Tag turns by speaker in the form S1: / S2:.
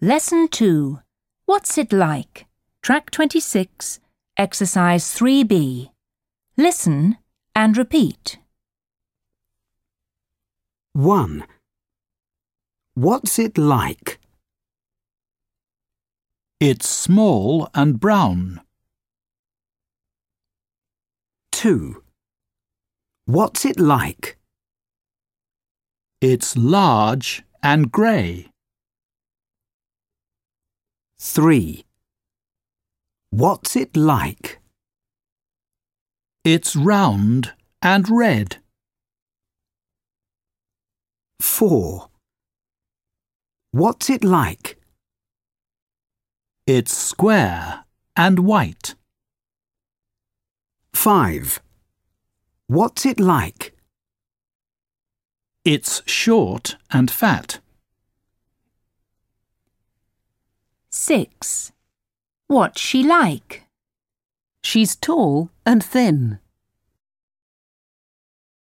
S1: Lesson 2 What's It Like? Track 26, Exercise 3B. Listen and repeat.
S2: 1. What's it like?
S3: It's small and brown.
S2: 2. What's it like?
S3: It's large and grey.
S2: 3. What's it like?
S3: It's round and red.
S2: 4. What's it like?
S3: It's square and white.
S2: 5. What's it like?
S3: It's short and fat.
S1: 6. What's she like?
S4: She's tall and thin.